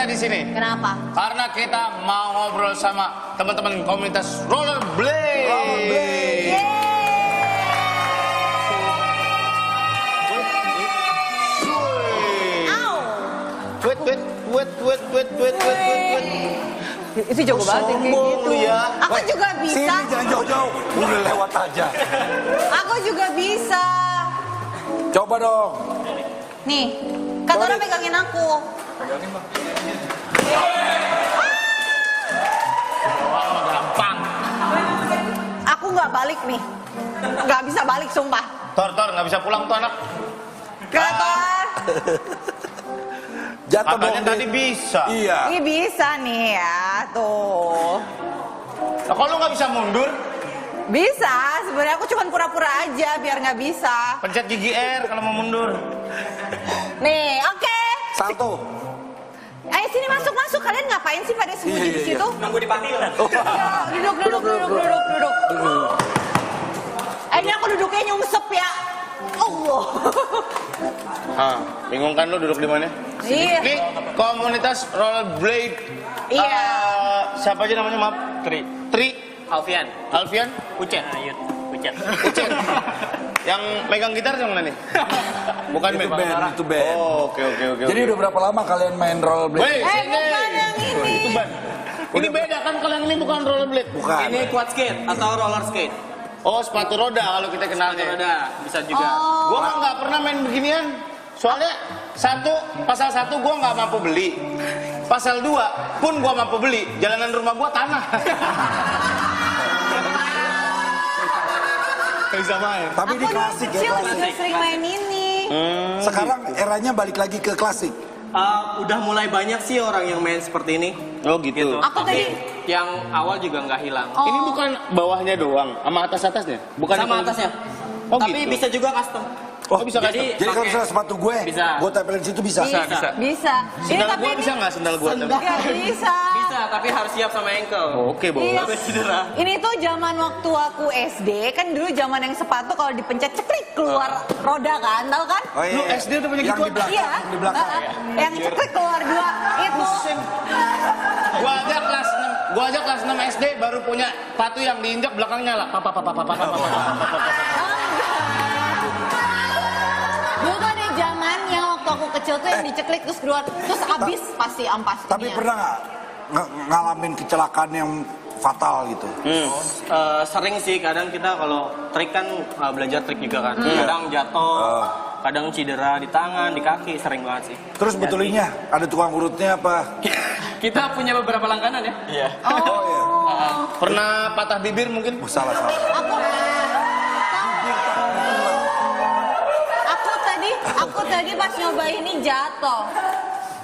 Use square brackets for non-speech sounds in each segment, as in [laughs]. di sini Kenapa? karena kita mau ngobrol sama teman-teman komunitas rollerblade. Yeay. Au. Wait, wait, wait, wait, wait, wait, wait, wait, wait. Itu jago banget yang kayak Sombong gitu. lu ya. Aku juga bisa. Sini jangan jauh-jauh. Udah lewat aja. Aku juga bisa. Coba dong. Nih, kata orang pegangin aku. Gampang. Aku nggak balik nih. Nggak bisa balik, sumpah. Tor, Tor, nggak bisa pulang tuh anak. Kenapa? Jatuh Katanya dong. tadi bisa. Iya. Ini bisa nih ya, tuh. Nah, kalau lu nggak bisa mundur, Bisa, sebenarnya aku cuma pura-pura aja biar nggak bisa. pencet gigi R kalau mau mundur. Nih, oke. Satu. Ayo sini masuk masuk. Kalian ngapain sih pada sembunyi di Iya, iya, situ? Nunggu dipanggil. kan? Oh. Yo, duduk, duduk, duduk, duduk, duduk. Eh, ini aku duduknya nyungsep ya. Allah. Ah, bingung kan lu duduk di mana? Iya. Ini komunitas rollerblade. Iya. Eh, siapa aja namanya maaf? Tri. Tri. Alfian, Alfian. Ucet. Ayut, Ucet. Ucen. [laughs] yang megang gitar yang [laughs] mana nih? Bukan Itu megang. band, itu band. Oh, oke oke oke. Jadi oke. udah berapa lama kalian main rollerblade? Woi, Eh, sini. bukan yang ini. Itu ban. Ini beda kan kalau yang ini bukan rollerblade. Bukan. Ini quad skate atau roller skate. Oh, sepatu roda kalau kita kenalnya. Roda, bisa juga. Oh, Gua mah nggak pernah main beginian. Soalnya satu pasal satu gua nggak mampu beli. Pasal dua pun gua mampu beli. Jalanan rumah gua [laughs] tanah. Nggak Bisa main. Tapi aku di dulu klasik ya. kecil klasik. juga sering main ini. Sekarang eranya balik lagi ke klasik. Eh, udah mulai banyak sih orang yang main seperti ini. Oh gitu. Aku Tapi tadi- yang awal juga nggak hilang. Oh. Ini bukan bawahnya doang, sama atas atasnya. Bukan Sama itu- atasnya. Oh, Tapi gitu. bisa juga custom. Oh, bisa Jadi jadi. Jadi kalau Pakai- misalnya sepatu gue, Bisa. gue tempelin situ bisa. bisa, bisa. bisa. Ini Sendal tapi gua ini bisa nggak sendal gua? tapi? nggak bisa. Bisa, tapi harus siap sama ankle. Oke, Iya. bawa. Tapi cedera. Ini tuh zaman waktu aku SD kan dulu zaman yang sepatu kalau dipencet cekrik keluar roda kan, tahu kan? Oh, Lu SD udah punya yang gitu? gituan? di belakang, Iya. yang di belakang. Ah, ah. Yang cekrik keluar dua itu. Gua aja kelas 6, gua aja kelas 6 SD baru punya patu yang diinjak belakangnya lah. Papa papa papa papa. Dulu tuh ada zaman yang waktu aku kecil tuh yang diceklik terus keluar terus habis pasti ampas. Eh. Tapi ininya. pernah nggak ng- ngalamin kecelakaan yang fatal gitu? Eh, sering sih kadang kita kalau trik kan eh, belajar trik juga kan. Hmm. Kadang jatuh, Ah. kadang cedera di tangan, di kaki, sering banget sih. Terus betulinya ada tukang urutnya apa? Kita punya beberapa langganan ya. Iya. Oh iya, Pernah patah bibir mungkin? oh, salah salah. Aku Aku tadi, aku tadi pas nyoba ini jatuh.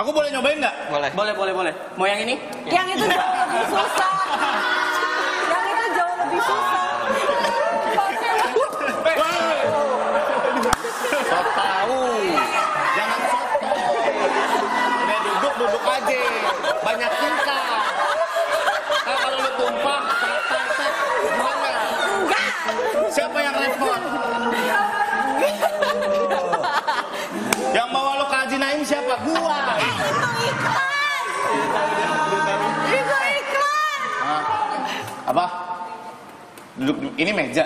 Aku boleh nyobain nggak? Boleh. Boleh, boleh, boleh. Mau yang ini? Yang itu jauh lebih susah. Yang itu jauh lebih susah. Eh. Sok tahu. Jangan sok tahu. Udah duduk duduk aja. Banyak tingkah. Nah, kalau lu tumpah, patah, tet, gimana? Enggak. Siapa yang repot? Yang bawa lu ke Haji Naim siapa? Gua. Eh, itu iklan. Itu iklan. Apa? Duduk, duduk. Ini meja.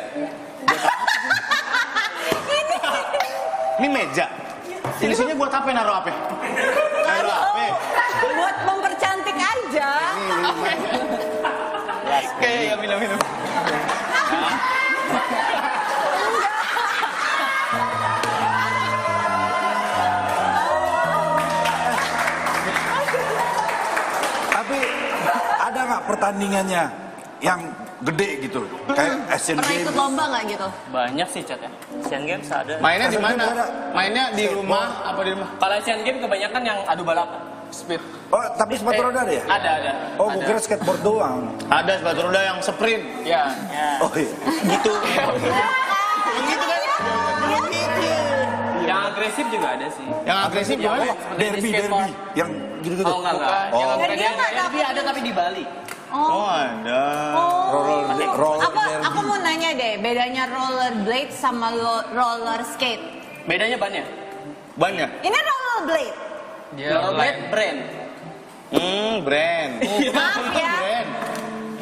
Ini. Ini meja. Tulisannya buat apa? Naruh apa? Naruh apa? Oh, Buat mempercantik aja. Oke, ya minum minum. Tapi ada nggak pertandingannya yang gede gitu? Kayak Hmm. Asian Pernah Games. ikut lomba nggak gitu? Banyak sih chat ya. Asian Games ada. Mainnya di mana? Mainnya di rumah apa di rumah? Kalau Asian Games kebanyakan yang adu balap. Speed. Oh, tapi sepatu roda ada ya? Ada, ada. Oh, gue Eh, Ada. kira skateboard doang. Ada sepatu roda yang sprint. Ya. ya. Oh iya. Gitu. Begitu kan? Begitu. Yang agresif juga ada sih. Yang agresif Yang gimana? seperti di Iya, eh, Derby, skateboard. derby. Yang gitu-gitu. Oh enggak enggak. Oh. Yang Derby agresif- enggak ada. derby ada tapi di Bali. Oh. Oh ada. Oh, Roller- roller apa, derby. aku mau nanya deh, bedanya rollerblade sama lo- roller skate. Bedanya bannya. Banyak. Ini rollerblade. Rollerblade brand. Hmm, brand. Maaf ya. Brand.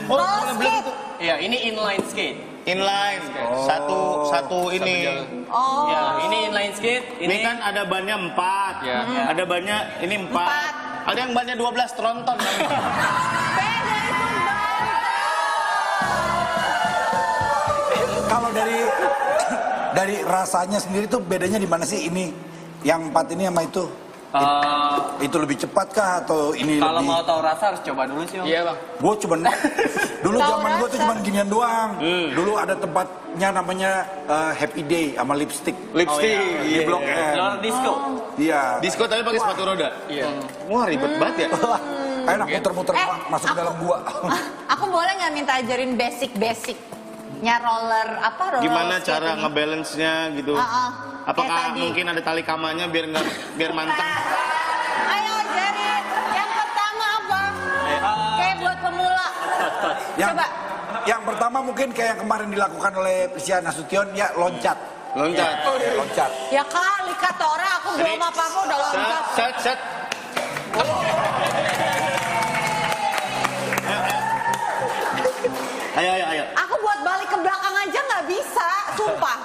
Oh, Ball skate. Iya, ini inline skate. Inline. Satu satu ini. Oh. Ya, ini inline skate, Ini ini kan ada bannya empat, Ya. ada bannya ini empat. Empat. Oh, Ada yang bannya 12 [laughs] tronton. Beda itu Kalau dari [coughs] dari rasanya sendiri tuh bedanya di mana sih ini? Yang empat ini sama itu? eh, Itu lebih cepat kah atau ini kalau lebih? mau tahu rasa harus coba dulu sih, Om. Iya bang. Gue cuman [laughs] dulu Tahu zaman gue tuh rasa. cuman ginian doang. Dulu ada tempatnya namanya eh, Happy Day sama lipstick. iya. Lipstick. Di Blok M. Oh. Lord disco. Iya. Disko Iya, tapi pakai sepatu roda. Iya. Wah ribet banget ya. [laughs] Enak muter-muter Eh, masuk ke aku- dalam [laughs] gua. [laughs] Aku boleh nggak minta ajarin basic-basic? Nya roller apa roller Gimana skate cara ini? ngebalance-nya gitu? Ah, ah. Kayak Apakah tadi. mungkin ada tali kamannya biar nggak biar mantap? Ayo ajarin. Yang pertama apa? Kayak buat pemula. Yang, Coba. yang pertama mungkin kayak yang kemarin dilakukan oleh Prisya Nasution ya loncat. Loncat. Ya, loncat. Ya kali kata orang aku belum apa-apa udah loncat. Set, set, set. Ayo, ayo, ayo. Aku buat balik ke belakang aja nggak bisa, sumpah.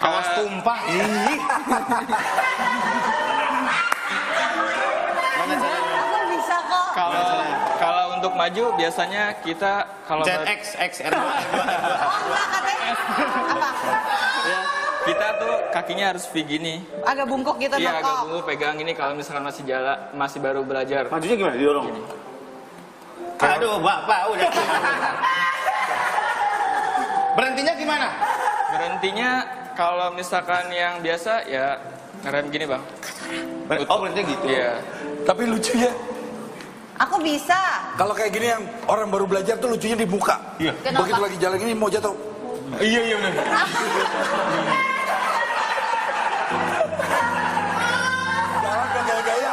Awas tumpah. Ih. Mana cara? Aku bisa kok. Kalau kalau untuk maju biasanya kita kalau ber- ZX, X, R2. Oh enggak katanya. Apa? ya, kita tuh kakinya harus V gini. Agak bungkuk gitu Iya agak nongkok. dulu pegang ini kalau misalkan masih jala masih baru belajar. Majunya gimana? Didorong. Aduh, bapak udah. Berhentinya gimana? Berhentinya kalau misalkan yang biasa ya ngerem gini bang. Ber- Oh, berhentinya gitu. Iya. Tapi ya. lucunya Aku bisa. kalau kayak gini yang orang baru belajar tuh lucunya di muka. Kenapa? Begitu lagi jalan gini mau jatuh. Iya iya benar. Jalan udah gaya-gaya.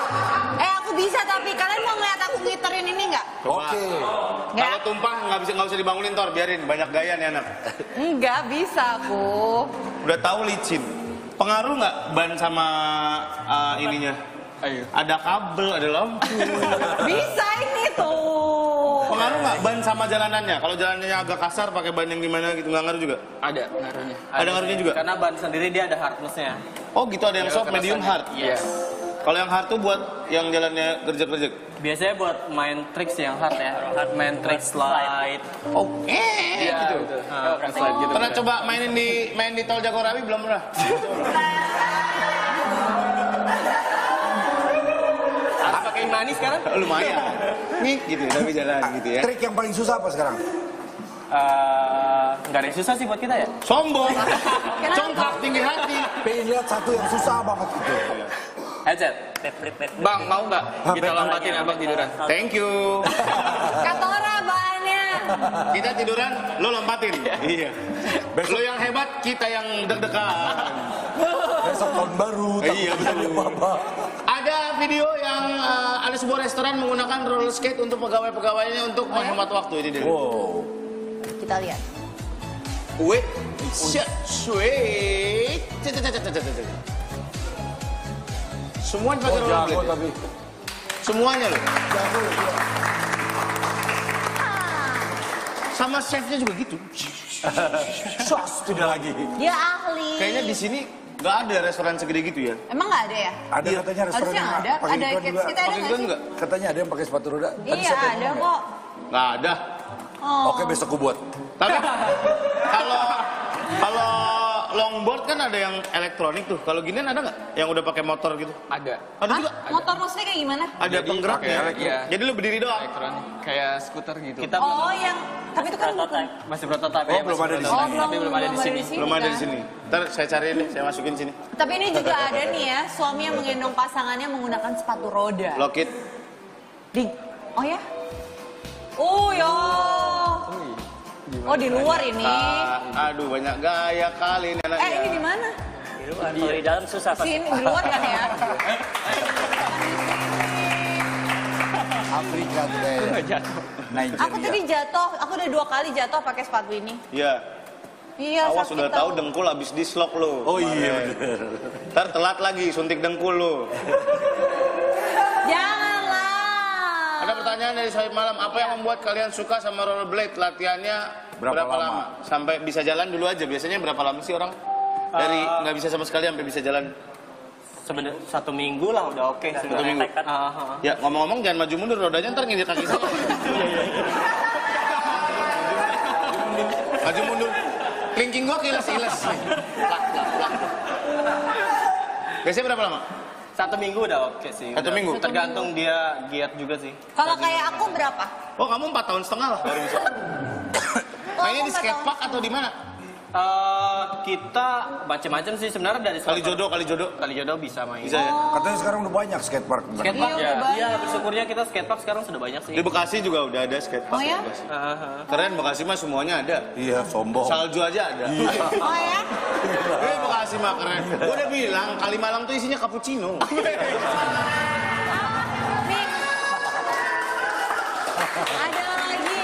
Eh aku bisa tapi kalian mau ngeliat aku ngiterin ini nggak? Oke. Nggak. Kalau tumpah nggak bisa nggak usah dibangunin tor, biarin banyak gaya nih anak. Enggak bisa aku. Udah tahu licin. Pengaruh nggak ban sama uh, ininya? Ayo. Ada kabel, ada lampu. Bisa ini tuh. Pengaruh nggak ban sama jalanannya? Kalau jalanannya agak kasar, pakai ban yang gimana gitu nggak ngaruh juga? Ada ngaruhnya. Ada Kan ngaruhnya juga? Karena ban sendiri dia ada hardness-nya. Oh gitu ada yang soft, medium, hard. Iya. Kalau yang hard tuh buat yang jalannya gerjek-gerjek. Biasanya buat main tricks yang hard ya. Main tricks slide. Oh, eh, Iya gitu. gitu. Ah, Nah, slide gitu. Pernah coba mainin di main di tol Jagorawi belum pernah? Harus pakai manis sekarang? [laughs] Lumayan. Nih gitu, tapi jalan gitu ya. Trik yang paling susah apa sekarang? Eh, Nggak ada yang susah sih buat kita ya. Sombong, congkak, tinggi hati. Pengen lihat satu yang susah banget gitu. Iya, Headset. Bang mau nggak kita lompatin abang tiduran? Thank you. Katora bahannya. Kita tiduran, lo lompatin. Iya. Lo yang hebat, kita yang deg-degan. Besok tahun baru. takut Iya, ada betul. apa-apa. Ada video yang eh, ada sebuah restoran menggunakan roller skate untuk pegawai-pegawainya untuk menghemat waktu ini. Wow. Kita lihat. Wait, shit, shit. Cet, cet, cet, cet, cet, cet. Semua pakai roller Oh, Jago blade. tapi. Semuanya loh. Ah. Jago. iya. Sama chefnya juga gitu. Sos, tidak lagi. Dia ahli. Kayaknya di sini nggak ada restoran segede gitu ya. Emang nggak ada ya? Ada Iya. katanya restoran Harusnya yang ada. pakai Ada gituan kids juga. kita ada Pakai nggak sih? gun kan nggak? Katanya ada yang pakai sepatu roda. Tadi Iya siapa yang ada ngomong ya? kok. Nggak ada. Oh. Oke besok gue buat. Tapi kalau kalau longboard kan ada yang elektronik tuh. Kalau ginian ada nggak? Yang udah pakai motor gitu? Ada. Ada Hah? juga. Motor maksudnya kayak gimana? Ada Jadi penggeraknya. pakai elektro. Iya. Jadi lu berdiri doang. Elektronik kayak skuter gitu. Kita belum- Oh yang tapi itu kan bukan. masih prototipe. Oh, ya, belum masih ada di prototipe. Oh belum, Tapi belum ada di sini. Belum ada di kan? sini. Ntar saya cari deh, saya masukin sini. Tapi ini juga ada nih ya, suami yang menggendong pasangannya menggunakan sepatu roda. Lock it. Di, oh ya? Oh ya. Oh di luar ini. iya. Ah, iya. aduh banyak gaya kali ini anak. Eh ini di mana? Kalau di dalam susah pasti. Sini di luar kan [laughs] ya? Afrika today. Nigeria. Aku tadi jatuh, aku udah dua kali jatuh pakai sepatu ini. Iya. Iya. Awas sakit sudah tahu dengkul habis dislok lo. Oh iya bener. Ntar telat lagi suntik dengkul lo. Janganlah. Ada pertanyaan dari selamat malam, apa Iya. yang membuat kalian suka sama rollerblade? Latihannya berapa, Berapa lama? lama? Sampai bisa jalan dulu aja. Biasanya berapa lama sih orang dari Eh, nggak bisa sama sekali sampai bisa jalan? Sebenarnya satu minggu lah udah oke. Satu minggu. Ya ngomong-ngomong jangan maju mundur rodanya ntar nginjek kaki saya. maju mundur. Kelingking gua kiles iles. Plak, plak, plak. Biasanya berapa lama? Satu minggu udah oke sih. Satu udah. minggu? Tergantung dia giat juga sih. Kalau kayak aku berapa? Oh kamu 4 tahun setengah lah baru bisa. Kalau Mainnya aku di empat tahun. skatepark atau di mana? Eh, kita macam-macam sih sebenarnya dari Kali jodoh, kali jodoh. kali jodoh bisa main. Bisa ya. Katanya sekarang udah banyak skatepark. Skatepark Iya, ya. udah Iya, bersyukurnya kita skatepark sekarang sudah banyak sih. Di Bekasi juga udah ada skatepark. Oh ya? di Bekasi. Aha. Keren Bekasi mah semuanya ada. Iya, sombong. Salju aja ada. Oh ya? Eh Bekasi mah keren. Gue udah bilang kali malam tuh isinya cappuccino. Nih. Ada lagi.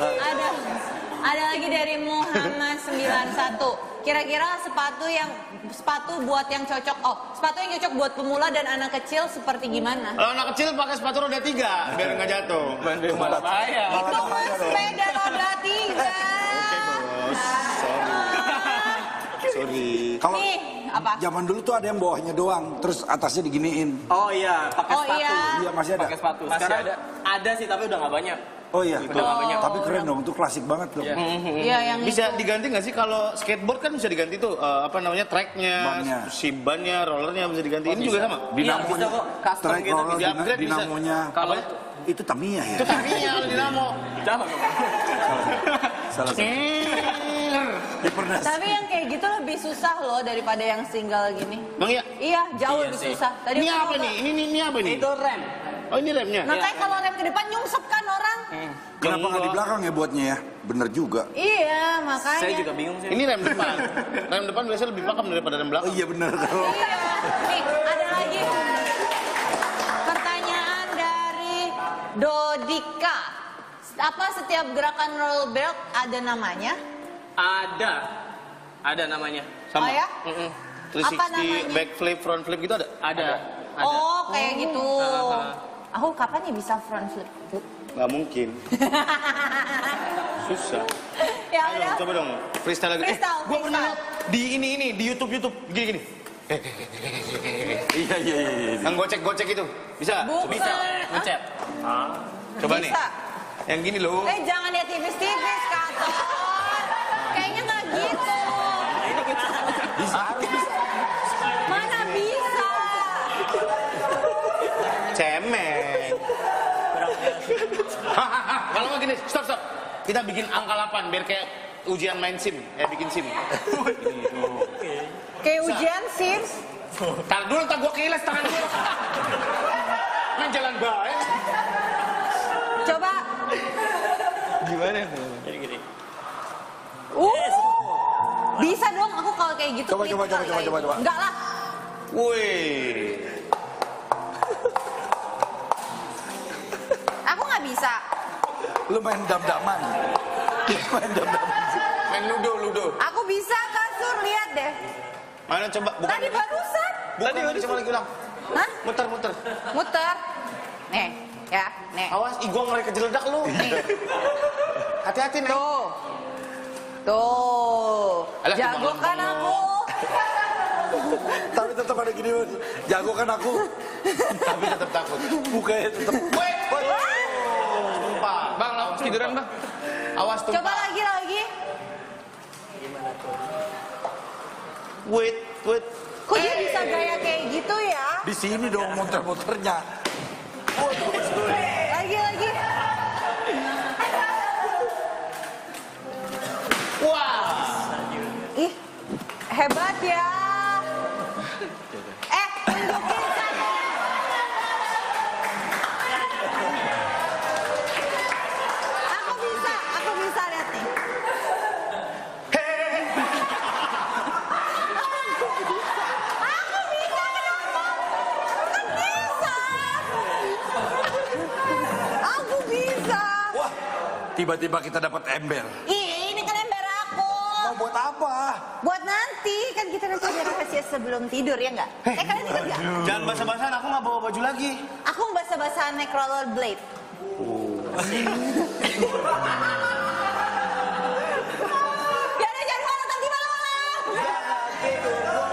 Ada. Ada lagi dari Muhammad 91. Kira-kira sepatu yang sepatu buat yang cocok. Oh, sepatu yang cocok buat pemula dan anak kecil seperti gimana? Kalau anak kecil pakai sepatu roda tiga biar nggak jatuh. Malah bahaya. Itu mas sepeda roda tiga. Bos, sorry. Sorry. Kalau Nih, apa? zaman dulu tuh ada yang bawahnya doang, terus atasnya diginiin. Oh iya, pakai Oh sepatu. iya. Iya, masih ada. Pakai sepatu. Masih Sekarang ada. ada. sih tapi udah nggak banyak. Oh iya. nggak banyak. Tapi keren dong, itu klasik banget loh. Iya, yang Bisa diganti nggak sih kalau skateboard kan bisa diganti tuh eh, apa namanya tracknya, Bannya. si bannya, rollernya bisa diganti. Ini juga sama. Dinamonya, Iya, bisa kok. Custom track gitu, roller, bisa upgrade, bisa. dinamonya. Kalau Itu Tamiya ya? Itu taminya kalau dinamo. jangan Salah satu. Eh. Ya pernah. Tapi yang kayak gitu lebih susah loh daripada yang single gini. Bang ya. Iya, jauh Iya lebih sih. susah. Tadi Ini aku apa ngomong- nih? Ini, ini, ini apa nih? Itu rem. Oh ini remnya. Makanya kalau rem ke depan nyungsep kan orang. Kenapa nggak di belakang ya buatnya ya? Bener juga. Iya, makanya. Saya juga bingung sih. Ini rem depan. rem depan biasanya lebih pakem daripada rem Oh belakang. iya bener [laughs] kalau Iya. Nih, ada lagi. Pertanyaan dari Dodika. Apa setiap gerakan roll belt ada namanya? Ada. Ada namanya. Sama. Oh ya? Mm-mm. 360, Apa namanya? backflip, front flip gitu ada? Ada. Ada. Oh, kayak gitu. Ah. Aku kapan nih bisa front flip? Nggak mungkin. Susah. ya Ayo udah. coba dong freestyle lagi. Freestyle, gua pernah freestyle. liat di ini ini di YouTube YouTube gini gini. Iya iya iya. iya. Yang gocek-gocek itu. Bisa? Bukan. Bisa. Ngecep. Coba nih. Bisa. Yang gini loh. Eh jangan ya tipis-tipis katon. Kayaknya nggak gitu. Mana bisa? Cemen. Hahaha. Kalau nggak gini, stop stop. Kita bikin angka 8 biar kayak ujian main SIM, eh bikin SIM. Kayak ujian sims. Tar dulu tak gua kiles tangan gua. Main jalan baik. Coba. Gimana? Uh. Bisa dong aku kalau kayak gitu. Coba, pelit coba, coba, kali coba, kayak coba, gitu. coba. Enggak lah. Wih. Aku nggak bisa. Lu main dam-daman. Lu main dam-daman. Main ludo ludo. Aku bisa kasur lihat deh. Mana coba bukan Tadi barusan. bukan coba lagi ulang. Hah? Muter muter. Muter. Nih. Ya. Nih. Awas, ih gua ngeri kejeledak lu. Hati-hati nih. Tuh. Tuh. Alah, Jago kebangun kan aku. Tapi tetap ada gini. Mas. Jago kan aku. Tapi tetap takut. Bukanya tetap. Woi, woi. Tumpah. Bang, lawan tiduran bang. Awas tuh. Coba lagi lagi. Wait, wait. Kok dia bisa gaya kayak gitu ya? Di sini dong muter-muternya. Lagi lagi. Wah. Ih, hebat ya. Eh, tunjukin satu. Aku bisa, aku bisa lihat nih. Aku bisa, kenapa? Kan bisa. Aku bisa. Wah. Tiba-tiba kita dapat ember. Ih, ini kan ember aku. mau buat apa? Buat nanti kan kita nanti ada rahasia sebelum tidur ya nggak? Eh kalian ikut nggak? Jangan basa-basahan, aku nggak bawa baju lagi. Aku basah-basahan Necrolord Blade. [laughs] Jangan jangan malam tadi malam. Tidur